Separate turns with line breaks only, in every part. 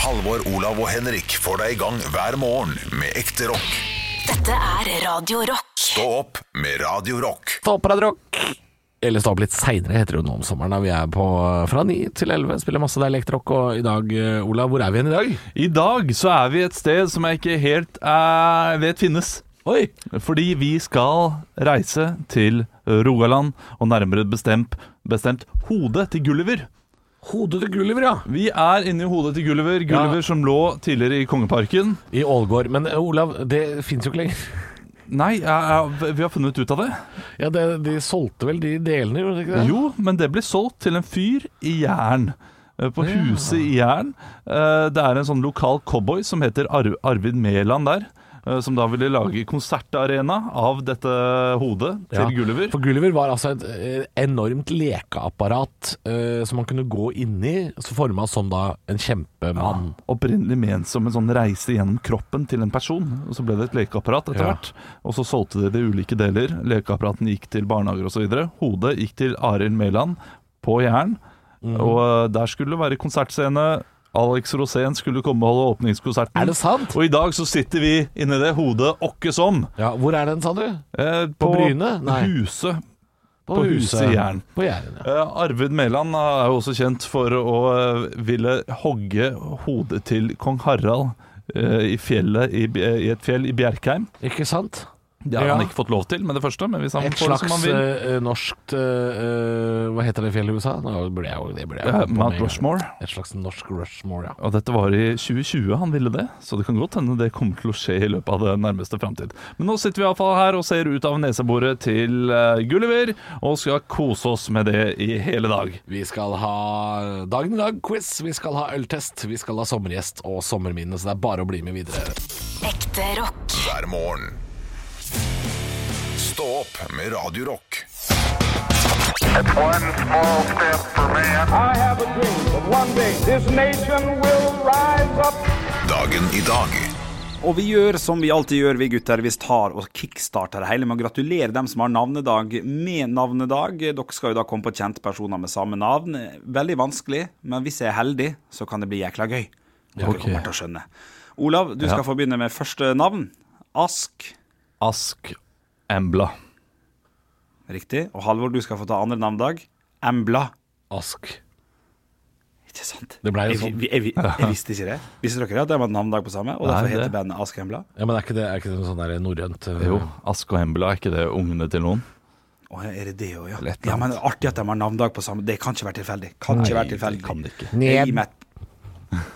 Halvor, Olav og Henrik får deg i gang hver morgen med ekte rock.
Dette er Radio Rock.
Stå opp med Radio Rock.
Stå opp, Radio Rock! Eller stå opp litt seinere, heter det jo nå om sommeren. Da vi er på eh, fra ni til elleve, spiller masse deilig elektrock. Og i dag, eh, Olav, hvor er vi igjen i dag?
I dag så er vi et sted som jeg ikke helt eh, vet finnes.
Oi!
Fordi vi skal reise til Rogaland, og nærmere bestemt, bestemt hodet til Gulliver.
Hodet til Gulliver, ja.
Vi er inne i hodet til Gulliver, Gulliver som lå tidligere i Kongeparken.
I Ålgård. Men eh, Olav, det fins jo ikke lenger.
Nei, jeg, jeg, vi har funnet ut av det.
Ja, det, De solgte vel de delene, gjorde de ikke det?
Jo, men det ble solgt til en fyr i Jæren. Eh, På huset i Jæren. Eh, Det er en sånn lokal cowboy som heter Ar Arvid Mæland der. eh, Som da ville lage konsertarena av dette hodet til
Ja,
Gulliver.
For Gulliver var altså et eh, enormt lekeapparat eh, som man kunne gå inni, så forma som da en kjempemann.
Opprinnelig ment som en sånn reise gjennom kroppen til en person. Og så ble det et lekeapparat etter
Ja.
hvert. Og så solgte de det i ulike deler. Lekeapparatene gikk til barnehager osv. Hodet gikk til Arild Mæland på Jæren.
Mm.
Og eh, der skulle det være konsertscene. Alex Rosén skulle komme og holde åpningskonserten.
Er det sant?
Og i dag så sitter vi inni det hodet åkke som.
Ja, Hvor er den, sa du?
Eh,
Bryne? Nei.
Huset. På huset i Jæren.
På Jæren, ja.
Eh, Arvid Mæland er jo også kjent for å eh, ville hogge hodet til kong Harald eh, i, fjellet, i, Bj- i et fjell i Bjerkheim.
Ikke sant?
Det har
Ja.
han ikke fått lov til med det første, men hvis han
Et
får det
slags
som han vil
eh, norskt eh, eh, Hva heter det fjellet i USA? Nå ble jeg, jo- det ble jeg jo
Eh,
på med en
Mount
gang.
Rushmore.
Et slags norsk Rushmore, ja.
Og dette var i 2020 han ville det, så det kan godt hende det kommer til å skje i løpet av den nærmeste framtid. Men nå sitter vi iallfall her og ser ut av neseboret til eh, Gulliver, og skal kose oss med det i hele dag.
Vi skal ha Dagen i dag-quiz, vi skal ha øltest, vi skal ha sommergjest og sommerminne, så det er bare å bli med videre.
Ekte rock.
Hver morgen. Stå opp med Radio Rock.
One small step for man.
I have a dream that one day this nation will rise up.
Dagen i dag.
Og vi gjør som vi alltid gjør, vi gutter. Vi tar og kickstarter det hele med å gratulere dem som har navnedag med navnedag. Dere skal jo da komme på kjente personer med samme navn. Veldig vanskelig, men hvis jeg er heldig, så kan det bli jækla gøy. Dere
ok.
kommer til å skjønne. Olav, du skal få begynne med første navn. Ask.
Ask Embla.
Riktig. Og Halvor, du skal få ta andre navnedag. Embla.
Ask.
Ikke sant?
Det ble jo
jeg,
sånn.
vi- jeg, vi- jeg visste ikke det. Visste dere at de hadde navnedag på samme? Og
Nei,
derfor heter
det-
bandet Ask Embla?
Ja, men er ikke det, er ikke det noe sånn der norrønt eh,
Jo, Ask og Embla, er ikke det ungene til noen?
Å, er det det òg, ja.
Eller et eller
ja?
annet.
Men det er artig at de har navnedag på samme Det kan ikke være tilfeldig. Kan ikke være tilfeldig.
det kan det ikke.
Jeg gir
Ned.
meg et-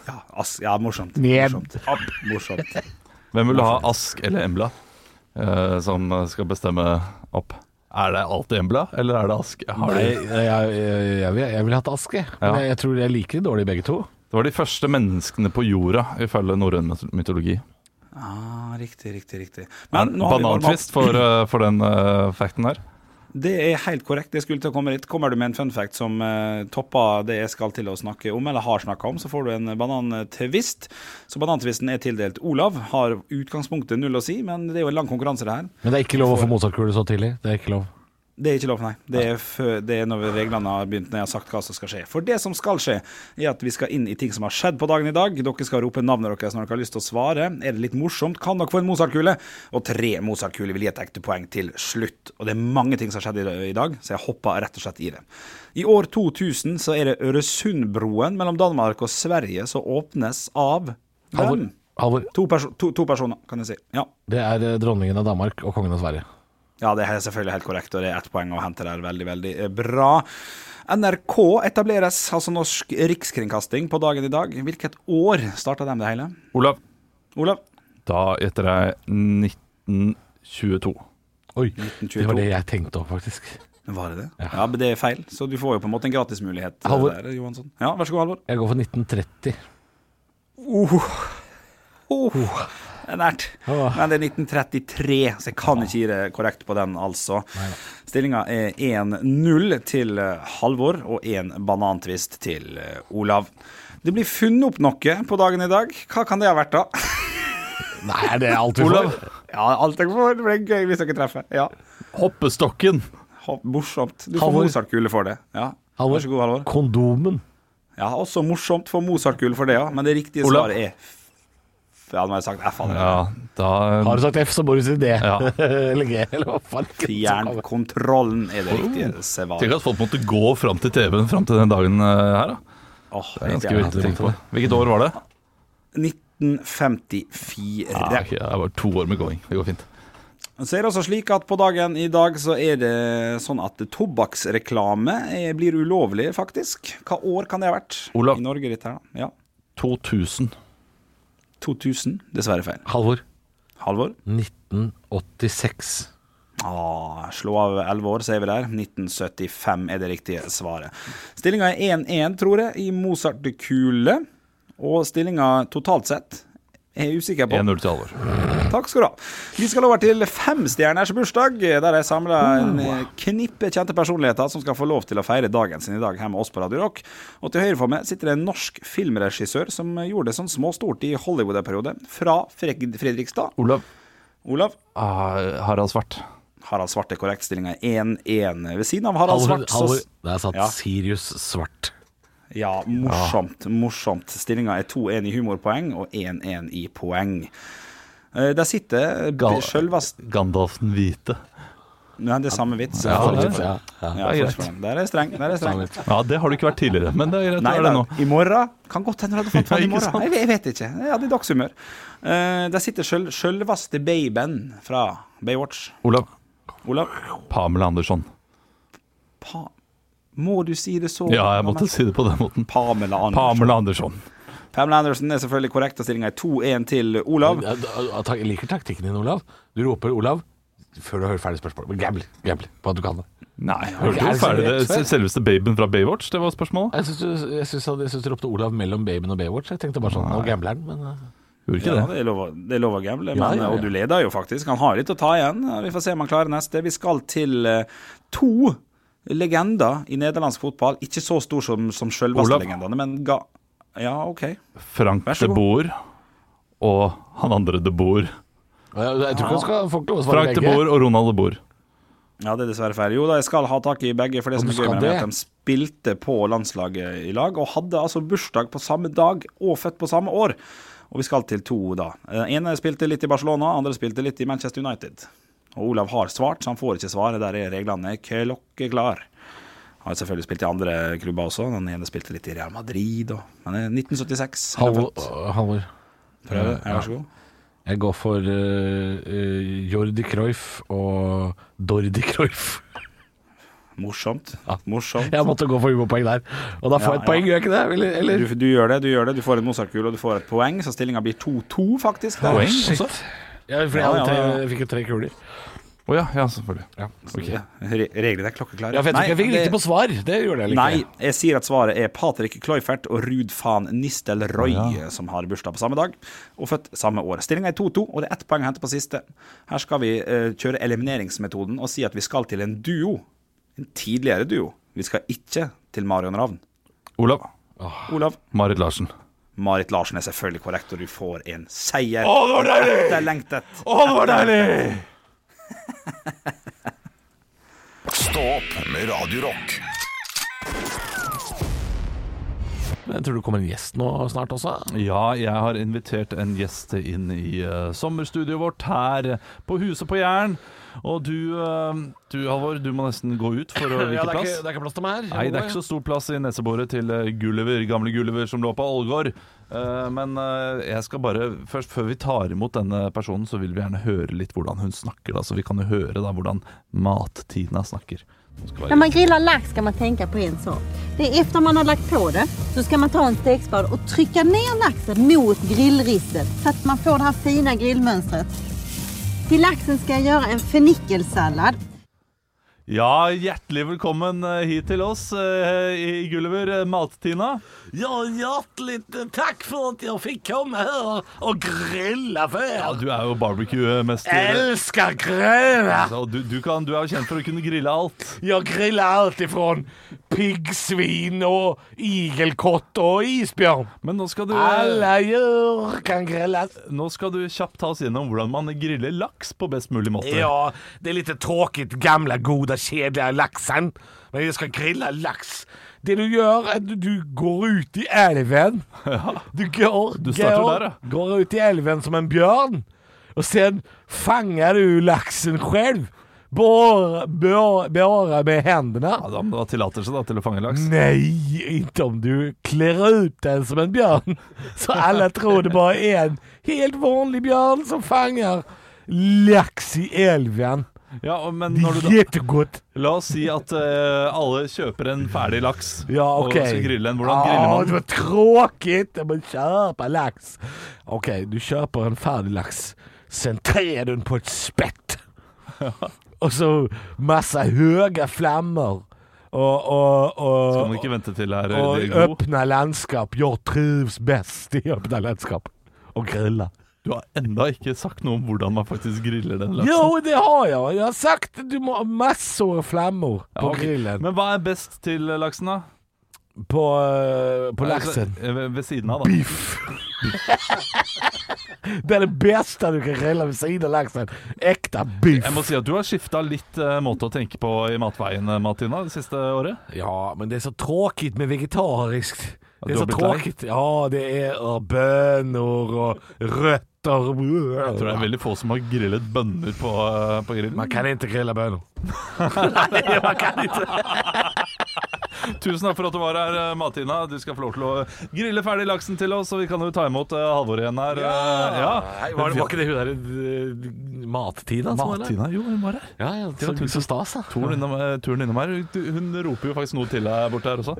Ja, ass, ja morsomt.
Ned.
Morsomt. App, morsomt.
Hvem vil ha Ask eller Embla eh, som skal bestemme opp? Er det alltid Embla, eller er det Ask? Har
Nei,
de,
jeg, jeg, jeg, vil- jeg ville hatt Ask, jeg. Men
Ja.
jeg, jeg tror jeg liker de dårlig begge to.
det var de første menneskene på jorda, ifølge norrøn myt- mytologi.
Ah, riktig, riktig, riktig.
Er
Men
det
nå har vi varmet
Banantvist for, eh, for den eh, facten her.
opp. Det er helt korrekt. Jeg skulle til å komme dit. Kommer du med en fun fact som eh, topper det jeg skal til å snakke om, eller har snakka om, så får du en banantvist. Så banantvisten er tildelt Olav. Har utgangspunktet null å si, men det er jo en lang konkurranse, det her.
Men det er ikke lov å få Mozart-kule så tidlig. Det er ikke lov.
Det er ikke lov, nei. Det er, før, det er når reglene har begynt, når jeg har sagt hva som skal skje. For det som skal skje, er at vi skal inn i ting som har skjedd på dagen i dag. Dere skal rope navnet deres når dere har lyst til å svare. Er det litt morsomt, kan dere få en Mozart-kule. Og tre Mozart-kuler vil gi et ekte poeng til slutt. Og det er mange ting som har skjedd i dag- i dag, så jeg hopper rett og slett i det. I år 2000 så er det Øresundbroen mellom Danmark og Sverige som åpnes av
Halvor,
hvem?
Halvor
To, perso to, to personer, kan jeg si. Ja.
det er eh, dronningen av Danmark og kongen av Sverige.
Ja, det er selvfølgelig helt korrekt, og det er ett poeng å hente der. Veldig, veldig eh, bra. NRK etableres, altså Norsk Rikskringkasting, på dagen i dag. Hvilket år starta de det hele?
Olav,
Olav?
da gjetter jeg 1922.
Oi, det var
1922.
det jeg tenkte opp, faktisk.
Var det det? Ja. men det er feil, så du får jo på en måte en gratismulighet. eh,
Halvor.
Der, Johansson. Ja, vær så god, Halvor.
Jeg går for 1930.
Oh, det er nært.
Åh.
Men det er 1933, så jeg kan ikke gi det korrekt på den, altså. Stillinga er 1-0 til eh, Halvor og 1 banantvist til eh, Olav. Det blir funnet opp noe på dagen i dag. Hva kan det ha vært, da?
Nei, er det alt vi
Olav,
får?
Ja, alt jeg får. Det blir gøy hvis dere treffer. Ja.
hoppestokken!
Ha- Morsomt. Du får
Halvor.
Mozart-kule for det. Ja.
Halvor,
Vær så god, Halvor.
Kondomen.
Ja, også morsomt for Mozart-gull for det, ja. Men det riktige
Olav?
svaret er F. Ja, nå har jeg sagt F allerede.
Ja, da eh,
Har du sagt F, så må du si D.
Ja.
eller G, eller hva farken.
Fjern kontrollen er det riktige svaret.
Tenk at folk måtte gå fram til TV-en fram til den dagen eh, her, da.
Åh,
Det er
det
ganske
er
vilt å tenke på. Hvilket år var det?
1954.
Ah, ok, det er bare to år med going. Det går fint.
Så er det også slik at på dagen i dag så er det sånn at tobakksreklame eh, blir ulovlig, faktisk. Hva år kan det ha vært
Olav.
i Norge, dette her? da? Ja.
2000.
2000. Dessverre feil.
Halvor.
Halvor?
1986.
Ah, slå av 11 år, så er vi der. 1975 er det riktige svaret. Stillinga er 1-1, tror jeg, i Mozart-kule. Og stillinga totalt sett er jeg usikker på.
1-0 til Halvor.
Takk skal du ha. Vi skal over til femstjerners bursdag, der jeg samla
Mm.
en eh, knippe kjente personligheter som skal få lov til å feire dagen sin i dag her med oss på Radio Rock. Og til høyre for meg sitter det en norsk filmregissør som gjorde det sånn små stort i Hollywood en periode. Fra Fred Fredrikstad.
Olav.
Olav.
Ah, Harald Svart.
Harald Svart er korrekt. Stillinga er 1-1. Ved siden av Harald Svart så
Halvor. Der satt
Ja.
Sirius Svart.
Ja, morsomt. morsomt. Stillinga er 2-1 i humorpoeng og 1-1 i poeng. Eh, Der sitter
Gal-
sjølvast...
Gandalf den hvite.
Nei, det er samme vits.
det er-
Ja, ja.
Ja,
Det er
forsvarer. Der er streng. Der er streng.
Samme vits.
Ja, det har du ikke vært tidligere, men det er greit.
Nei,
det er
da,
det nå.
i morgen Kan godt hende du hadde fått
Ja,
fatt i
ikke
morgen.
sant?
Jeg, jeg vet ikke. Jeg hadde dagshumør. Eh, der sitter sjøl, sjølveste babyen fra Baywatch.
Olav.
Olav?
Pamela Andersson.
Pa må du si det så?
Ja, jeg måtte si det på den måten.
Pamela Andersen.
Pamela Andersson.
Pamela Andersen er selvfølgelig korrekt, og stillinga er 2-1 til Olav.
Ja, da- tak- Jeg liker taktikken din, Olav. Du roper 'Olav' før du hører ferdig spørsmålet. Men Gamble, gamble på at du kan det.
Nei, hørte
Er
jo
det så
ferdig
rett
det
før?
selveste babyen fra Baywatch, det var spørsmålet.
Jeg syns du, jeg syns han- jeg syns du ropte Olav mellom Babyen og Baywatch. Jeg tenkte bare sånn Nå gambler han, men eh,
Gjorde ikke
Ja,
det?
det er lov å- det er lov å
Ja,
gamble, men- eh,
ja, ja.
og du leder jo faktisk. Han har litt å ta igjen. Vi får se om han klarer neste. Vi skal til eh, to legender i nederlandsk fotball. Ikke så stor som, som sjølveste
Olav.
legendene, men ga... Ja, OK.
Frank
Vær
de
så god.
Boer og han andre de Boer.
Jeg jeg tror ikke han skal få ikke lov å svare
Frank de Boer og Ronald de Boer.
Ja, det er dessverre feil. Jo da, jeg skal ha tak i begge, for det som
du
er gøy
skal
med dem, er
det?
at de spilte på landslaget i lag, og hadde altså bursdag på samme dag og født på samme år. Og vi skal til to, da. Eh, ene spilte litt i Barcelona, andre spilte litt i Manchester United. Og Olav har svart, så han får ikke svare. Der er reglene klokkeklar. Han har selvfølgelig spilt i andre klubber også. Den ene spilte litt i Real Madrid, og Men eh, 1976. er han
Halvor,
født.
øh, Halvor,
Prøv det. Ja, Vær så god.
jeg går for øh, øh, Jordi Cruyff og Dordi Cruyff.
Morsomt. Morsomt.
Jeg måtte gå for humorpoeng der. Og da får
Ja,
jeg et poeng,
ja.
gjør jeg ikke det? Eller? eller?
Du, du gjør det, du gjør det. Du får en Mozart-kule, og du får et poeng, så stillinga blir 2-2, faktisk. Der.
Poeng?
Shit. Ja, for jeg,
Ja,
hadde
ja, ja.
tre- jeg fikk jo tre kuler.
Å ja, ja, selvfølgelig. Ok.
Ja, re- Reglene er klokkeklare.
Ja, for jeg, tror ikke jeg fikk
det-
riktig på svar. Det gjorde jeg
Nei,
ikke.
jeg sier at svaret er Patrick Cloyfert og Ruud van Nistelrooy, som har bursdag på samme dag og født samme år. Stillinga er 2-2, og det er ett poeng å hente på siste. Her skal vi eh, kjøre elimineringsmetoden og si at vi skal til en duo. En tidligere duo. Vi skal ikke til Marion Ravn.
Olav.
Olav
Marit Larsen.
Marit Larsen er selvfølgelig korrekt, og du får en seier.
det var deilig!
Etterlengtet.
Å, det var deilig!
Stå opp med Radio Rock.
Men jeg tror det kommer en gjest nå snart også.
Ja, jeg har invitert en gjest inn i eh, sommerstudioet vårt her eh, på Huset på Jæren. Og du, eh, du Halvor, du må nesten gå ut for å vike
det, er
plass.
ikke, det er ikke plass til meg her.
Nei, det er ikke så stor plass i neseboret til eh, Gulliver, gamle Gulliver som lå på Ålgård. Eh, Men eh, jeg skal bare først, før vi tar imot denne personen, så vil vi gjerne høre litt hvordan hun snakker. Da. Så vi kan jo høre da hvordan Mat-Tina snakker. Som skal være-
När man grillar lax ska man tänka på en sak. Det är efter man har lagt på det så ska man ta en stekspad och trycka ner laxen mot grillrisset så att man får det här fina grillmönstret. Till laxen ska jag göra en fennikelsallad.
Ja, hjertelig velkommen eh, hit til oss eh, i Gulliver, eh, Mat-Tina.
Ja, hjertelig takk for at jeg fikk komme her og grille
Ja,
før.
du er jo barbecue-mester.
Elsker grille!
Og Du, du, kan- du er jo kjent for å kunne grille alt.
Jeg griller alt ifrån piggsvin og igelkott og isbjørn.
Men nå skal du,
Alle dyr kan grilles.
nå skal du kjapt ta oss gjennom hvordan man griller laks på best mulig måte.
Ja, det er litt tråkigt gamla goda kjedelige laksen. Men jeg skal grille laks. Det du gjør, er at du- du går ut i elven. Du går,
Du starter
går,
der, ja.
går ut i elven som en bjørn, og sen fanger du laksen selv. Bare bare- bare med hendene.
Adam da tillater seg da til å fange
Mm.
laks.
Nei, ikke om du kler ut den som en bjørn. Så alle tror det bare er en helt vanlig bjørn som fanger laks i elven.
Ja, og- men
Det
når du
er
da,
Jättegott.
la oss si at eh, alle kjøper en ferdig laks
Ja,
og
ok. Ah,
skal grille en.
Ja,
Hvordan griller man
Det
den?
var tråkigt. Jeg må kjøpe laks. Ok, du kjøper en ferdig laks. Sen trer du den på et spett. Og så masse høye flammer. Og, og, og,
Skal man ikke vente til det er det
og
er god?
åpne landskap. Jeg trives best i åpne landskap. Og grille.
Du har enda ikke sagt noe om hvordan man faktisk griller den laksen.
Jo, det har jeg. Jeg har sagt du må ha massor av flammer
Ja,
på
ok.
grillen.
Men hva er best til eh, laksen, da?
På, eh, på laksen.
Eh, Ved, ved siden av, da.
biff. det er det beste du kan grille ved siden av laksen. Ekte biff.
Jeg må si at du har skifta litt eh, måte å tenke på i matveien, eh, Martina, det siste året.
Ja, men det er så tråkig med vegetarisk.
du
Det er
har
så
blitt lei?
tråkig. Ja, det er uh, bønner og røtter.
Jeg tror det er veldig få som har grillet bønner på, eh, på grillen.
Man kan ikke grille bønner. Nei, man kan ikke.
Tusen takk for at du var her, eh, Martina. Du skal få lov til å grille ferdig laksen til oss, og vi kan jo ta imot eh, Halvor igjen her. eh,
Nei, var, det, var ikke det hun der eh, Mat-Tina som var der?
Martina, jo, hun var her.
Ja, ja, det var så stas, da.
Turen innom, eh, turen innom her. Du- Hun roper jo faktisk noe til deg borte her også.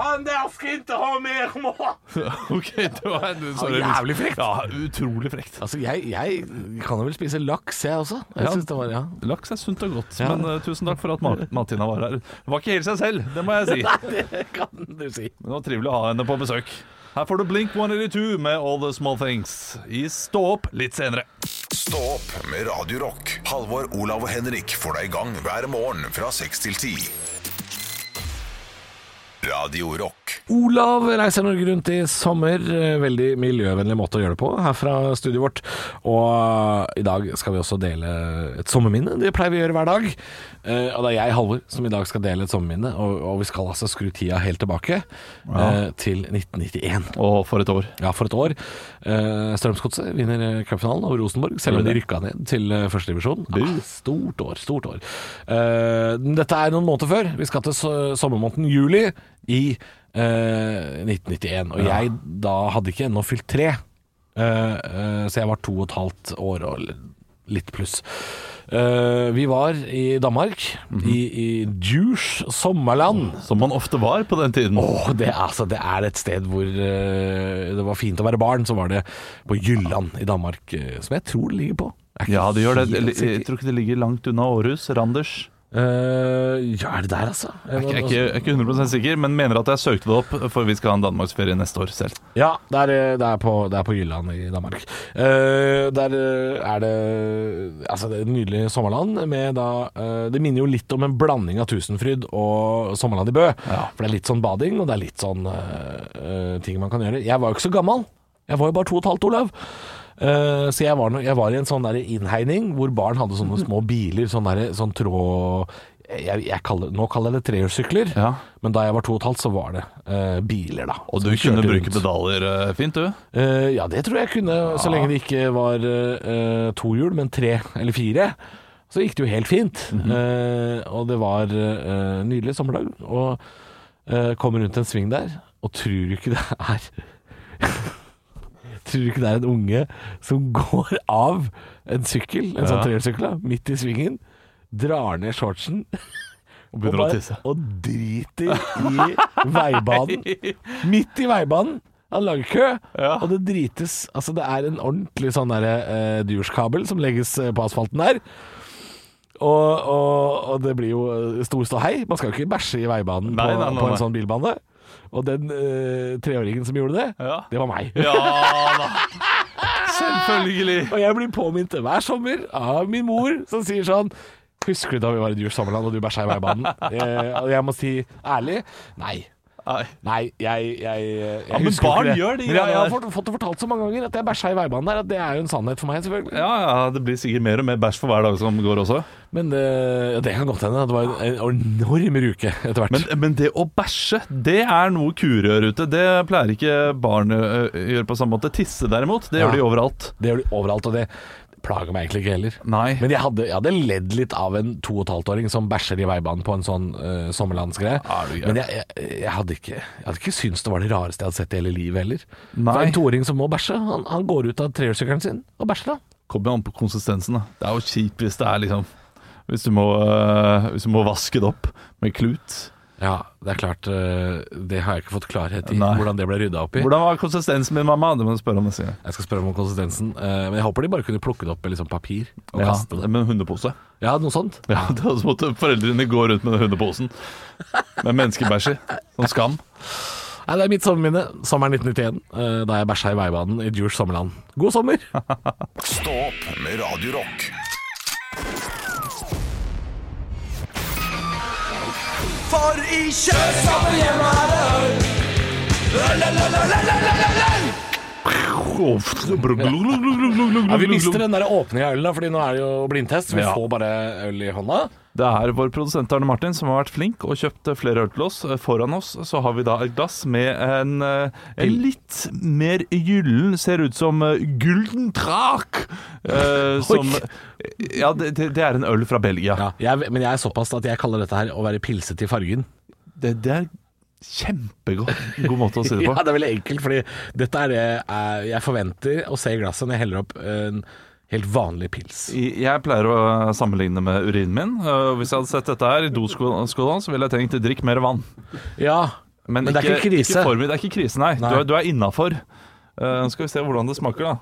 Han der skal ikke ha mer mat!
OK, det var du- sorry.
Ja, jævlig frekt.
Ja, utrolig frekt.
Altså, jeg, jeg kan jo vel spise laks, jeg også. Jeg
Ja.
synes det var, ja.
Laks er sunt og godt,
Ja.
men eh, tusen takk for at Ma- Martina var her. Hun var ikke helt seg selv, det må jeg si.
Det kan du si.
Men det var trivelig å ha henne på besøk. Her får du Blink 182 med All The Small Things i Stå opp litt senere.
Stå opp med Radio Rock. Halvor, Olav og Henrik får deg i gang hver morgen fra 6 til 10. Radio Rock.
Olav reiser Norge rundt i sommer. Eh, Veldig miljøvennlig måte å gjøre det på her fra studioet vårt. Og eh, i dag skal vi også dele et sommerminne. Det pleier vi å gjøre hver dag. Eh, Og det er jeg, Halvor, som i dag skal dele et sommerminne. Og, og vi skal altså skru tida helt tilbake eh, til 1991.
Og for et år.
Ja, for et år. Eh, Strømsgodset vinner eh, cupfinalen over Rosenborg, selv om de rykka ned til eh, første divisjon. Ah, stort år, stort år. Eh, dette er noen måneder før. Vi skal til so- sommermåneden juli i eh, 1991. Og jeg da hadde ikke ennå fylt tre, Eh, eh, så jeg var to og et halvt år og l- litt pluss. Eh, vi var i Danmark, i, i Djurs sommerland.
Som man ofte var på den tiden.
Åh, det, er- altså, det er et sted hvor eh, det var fint å være barn. Så var det på Jylland i Danmark, eh, som jeg tror det ligger på. Jeg er ikke
Ja, det gjør det.
helt
Jeg,
sikker.
jeg tror ikke det ligger langt unna Århus. Randers.
Eh, ja, er det der, altså?
Jeg er ikke, jeg er ikke 100 sikker, men mener at jeg søkte det opp, for vi skal ha en danmarksferie neste år selv.
Ja, det er, eh, det er, på, det er på Jylland i Danmark. Eh, der eh, er det Altså, det er et nydelig sommerland med da eh, Det minner jo litt om en blanding av Tusenfryd og Sommerland i Bø. For det er litt sånn bading, og det er litt sånn eh, eh, ting man kan gjøre. Jeg var jo ikke så gammel. Jeg var jo bare to og et halvt, Olav. Eh, så jeg var, no- jeg var i en sånn der innhegning hvor barn hadde sånne små biler, sånn, der, sånn tråd jeg, jeg kaller, Nå kaller jeg det trehjulssykler,
Ja.
men da jeg var to og et halvt, så var det eh, biler, da.
Og du
som
kunne
kjørte
bruke
rundt.
pedaler eh, fint, du.
Eh, ja, det tror jeg kunne, så lenge det ikke var eh, to hjul, men tre eller fire. Så gikk det jo helt fint. Eh, og det var eh, nydelig sommerdag. Og eh, kom rundt en sving der, og tror du ikke det er Tror du ikke det er en unge som går av en sykkel, en sånn
Ja.
trehjulssykkel, da, midt i svingen, drar ned shortsen
Og
og,
begynner å
bare,
tisse.
og driter i veibanen. Midt i veibanen. Han lager kø,
Ja.
og det drites Altså, det er en ordentlig sånn derre eh, dyrskabel som legges eh, på asfalten der. Og, og, og det blir jo eh, stor ståhei. Man skal jo ikke bæsje i veibanen
Nei,
på,
nei, nei,
på
nei.
en sånn bilbane. Og den eh, treåringen som gjorde det,
Ja.
det var meg.
Ja da. Selvfølgelig.
Og jeg blir påminnet hver sommer av min mor, som sier sånn Husker du da vi var i Djurs sommerland og du bæsja i veibanen? Eh, og jeg må si ærlig nei.
Nei.
Nei, jeg, jeg, jeg
men
husker jo
barn
ikke det.
gjør de
Men jeg, jeg har
greiene
fått, fått det fortalt så mange ganger at jeg bæsja i veibanen der, at det er jo en sannhet for meg, selvfølgelig.
Ja, ja, det blir sikkert mer og mer bæsj for hver dag som går også.
Men det, ja, det kan godt hende. Det var en enorm ruke etter hvert.
Men, men det å bæsje, det er noe kuer gjør ute. Det pleier ikke barn å ø, gjøre på samme måte. Tisse derimot, det
Ja.
gjør de overalt.
det gjør de overalt, og det plager meg egentlig ikke heller.
Nei.
Men jeg hadde, jeg hadde ledd litt av en to og et halvt åring som bæsjer i veibanen på en sånn eh, sommerlandsgreie.
Ja, det er gøy.
Men jeg, jeg, jeg, hadde ikke, jeg hadde ikke syntes det var det rareste jeg hadde sett i hele livet heller.
Nei.
For en toåring som må bæsje, han, han går ut av trehjulssykkelen sin og bæsjer da.
Kommer an på konsistensen. da Det er jo kjipt hvis det er liksom Hvis du må, øh, hvis du må vaske det opp med klut.
Ja, det er klart, eh, det har jeg ikke fått klarhet i,
Nei.
hvordan det ble rydda opp i.
Hvordan var konsistensen min, mamma? Det må du spørre om neste gang.
Jeg skal spørre om konsistensen, eh, men jeg håper de bare kunne plukke det opp med liksom papir og
Ja,
kaste det.
med en hundepose.
Ja, noe sånt.
Ja, Da måtte foreldrene gå rundt med den hundeposen med menneskebæsj i. Sånn skam.
Nei, det er mitt sommerminne, sommeren 1991, eh, da jeg bæsja i veibanen i Djurs sommerland. God sommer!
Stå opp med Radio Rock.
Ja, vi mister
Det
den der åpninga av ølen, da, fordi nå er det jo blindtest. Vi
Ja.
får bare øl i hånda.
er vår produsent Arne Martin som har vært flink og kjøpt flere øl til oss. Foran oss så har vi da et glass med en, eh, en litt mer gyllen Ser ut som eh, Gulden Trak! eh, som Ja, det, det det er en øl fra Belgia.
Jeg, men jeg er såpass at jeg kaller dette her å være pilset i fargen.
Det, det er kjempegodt. God måte å si det
Ja,
på.
Det er veldig enkelt, fordi dette er det eh, jeg forventer å se i glasset når jeg heller opp en helt vanlig pils.
I- Jeg pleier å eh, sammenligne med urinen min. eh, og Hvis jeg hadde sett dette her i doskåla, så ville jeg tenkt drikk mer vann.
Ja,
Men,
Men det er ikke krise.
for mye. det er ikke krise, nei.
Nei.
Du er, du er innafor. Eh, skal vi se hvordan det smaker,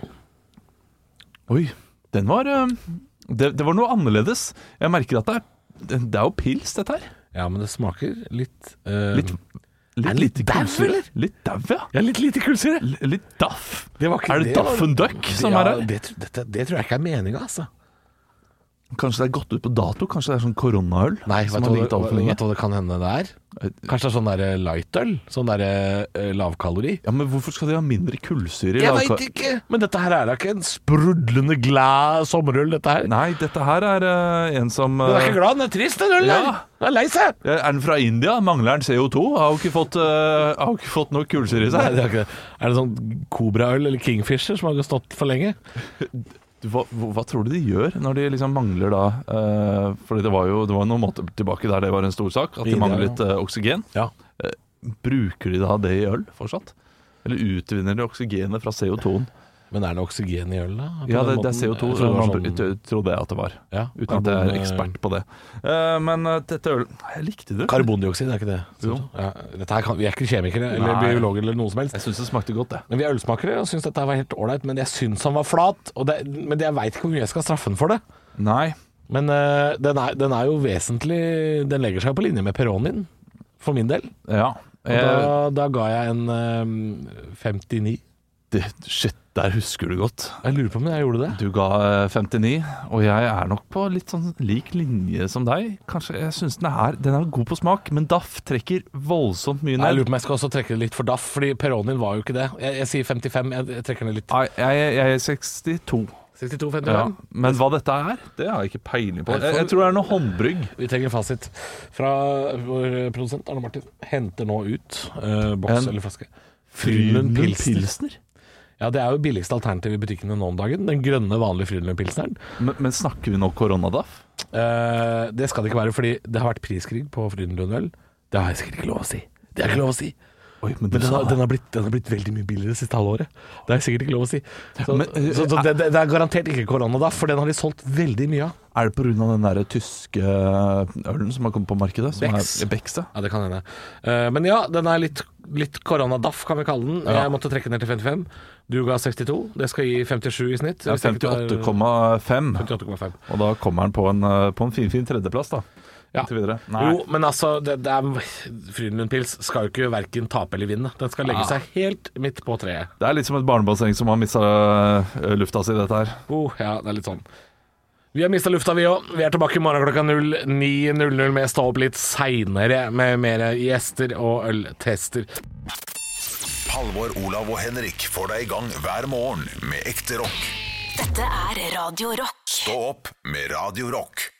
da. Oi, den var eh, det, det var noe annerledes. Jeg merker at det er, det det er jo pils, dette her.
ja men det smaker litt eh,
Litt-
Er det litt
lite
daff,
kullsyre.
eller?
Litt daff, ja.
Ja, litt lite kullsyre.
L- Litt daff.
Det var ikke
er det,
det, var-
Daffen Duck som
ja,
er her?
Det, tr- dette, det tror jeg ikke er meninga, altså.
Kanskje det er gått ut på dato? Kanskje det er sånn koronaøl?
Nei, vet
som
du
har
hva,
ligget alt for
det-
lenge?
vet du hva det kan hende det er? Kanskje det er sånn der eh, lightøl? Sånn der eh, lavkalori?
Ja, men hvorfor skal de ha mindre kullsyre i
Jeg
lavka-
veit ikke! Men dette her er da ikke en sprudlende glad sommerøl, dette her.
Nei, dette her er eh, en som
Den er
eh,
ikke glad, den er trist, den ølen.
Ja.
her. Den er lei seg.
Ja, Er den fra India? Mangler den CO2? Har jo ikke fått, uh, har jo ikke fått noe kullsyre i
Nei,
seg.
det er, ikke det. er det sånn kobraøl eller Kingfisher som har stått for lenge?
Du, Hva, hva tror du de gjør når de liksom mangler da eh, Fordi det var jo det var noen måter tilbake der det var en stor sak, at de
India,
mangler
ja.
litt eh, oksygen.
Ja.
Bruker de da det i øl fortsatt? Eller utvinner de oksygenet fra CO2-en?
Men er det oksygen i ølen, da? På
Ja,
den
det, det er
måten?
CO2.
Jeg tror det var
man
sånn-
br- trodde jeg at det var.
ja,
Uten at jeg
karbon-
er ekspert på det. Eh, men eh, dette øl Jeg likte det.
Karbondioksid, er ikke det?
Jo.
Ja, dette her kan, vi er ikke kjemikere eller
Nei.
biologer eller noe som helst.
Jeg syns det smakte godt, det.
Men vi er ølsmakere og syns dette her var helt ålreit, men jeg syns han var flat. Og det, men jeg veit ikke hvor mye jeg skal straffe den for det.
Nei.
Men eh, den, er, den er jo vesentlig Den legger seg på linje med Peronien, for min del.
Ja.
Og
Eh,
da, da ga jeg en eh, 59.
det, shit, der husker du godt.
Jeg lurer på om jeg gjorde det.
Du ga eh, 59, og jeg er nok på litt sånn lik linje som deg. Kanskje jeg synes den er Den er god på smak, men Daff trekker voldsomt mye
Nei, jeg
ned.
lurer på om jeg skal også trekke det litt for daff, fordi Peronien var jo ikke det. Jeg, jeg sier 55, jeg, jeg trekker ned litt.
Nei, jeg, jeg er 62.
62-55.
Ja. Men hva dette er, det har jeg ikke peiling på. Jeg, jeg tror det er noe håndbrygg.
Vi trenger fasit fra vår eh, produsent Arne Martin. Henter nå ut eh, boks
En
eller flaske.
Frydenlund
Pilsner.
Pilsner.
Ja, det er jo billigste alternativ i butikkene nå om dagen. Den grønne, vanlige Frydenlund-pilsneren.
Men, men snakker vi nå koronadaff?
Eh, det skal det ikke være, fordi det har vært priskrig på Frydenlund-øl. Det har jeg sikkert ikke lov å si. Det er ikke lov å si.
Oi, men
Men den har,
det.
den, har blitt, den har blitt veldig mye billigere det siste halvåret. Det er sikkert ikke lov å si. Så,
Men, eh,
så, så det, det det er garantert ikke korona, da, for den har de solgt veldig mye av.
Er det pga. den der tyske eh, ølen som har kommet på markedet? Som
Becks.
Er Becks ja.
Ja, det kan hende. Eh, men ja, den er litt, litt koronadaff, kan vi kalle den. Jeg måtte trekke ned til 55. Du ga 62. Det skal gi 57 i snitt.
Det
Hvis jeg
er
ikke tar-
58,5.
58,5.
Og da kommer den på en, eh, på en finfin tredjeplass, da.
Ja.
Inntil videre. Nei.
Jo, men altså, det, det er, Frydenlund-pils skal jo ikke verken tape eller vinne. Den skal legge
Ja.
seg helt midt på treet.
Det er litt som et barnebasseng som har mista lufta eh, si, dette her.
Oh, ja, det er litt sånn. Vi har mista lufta, vi òg. Vi er tilbake i morgen klokka 09.00 med Stå opp litt seinere med mer gjester og øltester.
Halvor, Olav og Henrik får deg i gang hver morgen med ekte rock.
Dette er Radio Rock.
Stå opp med Radio Rock.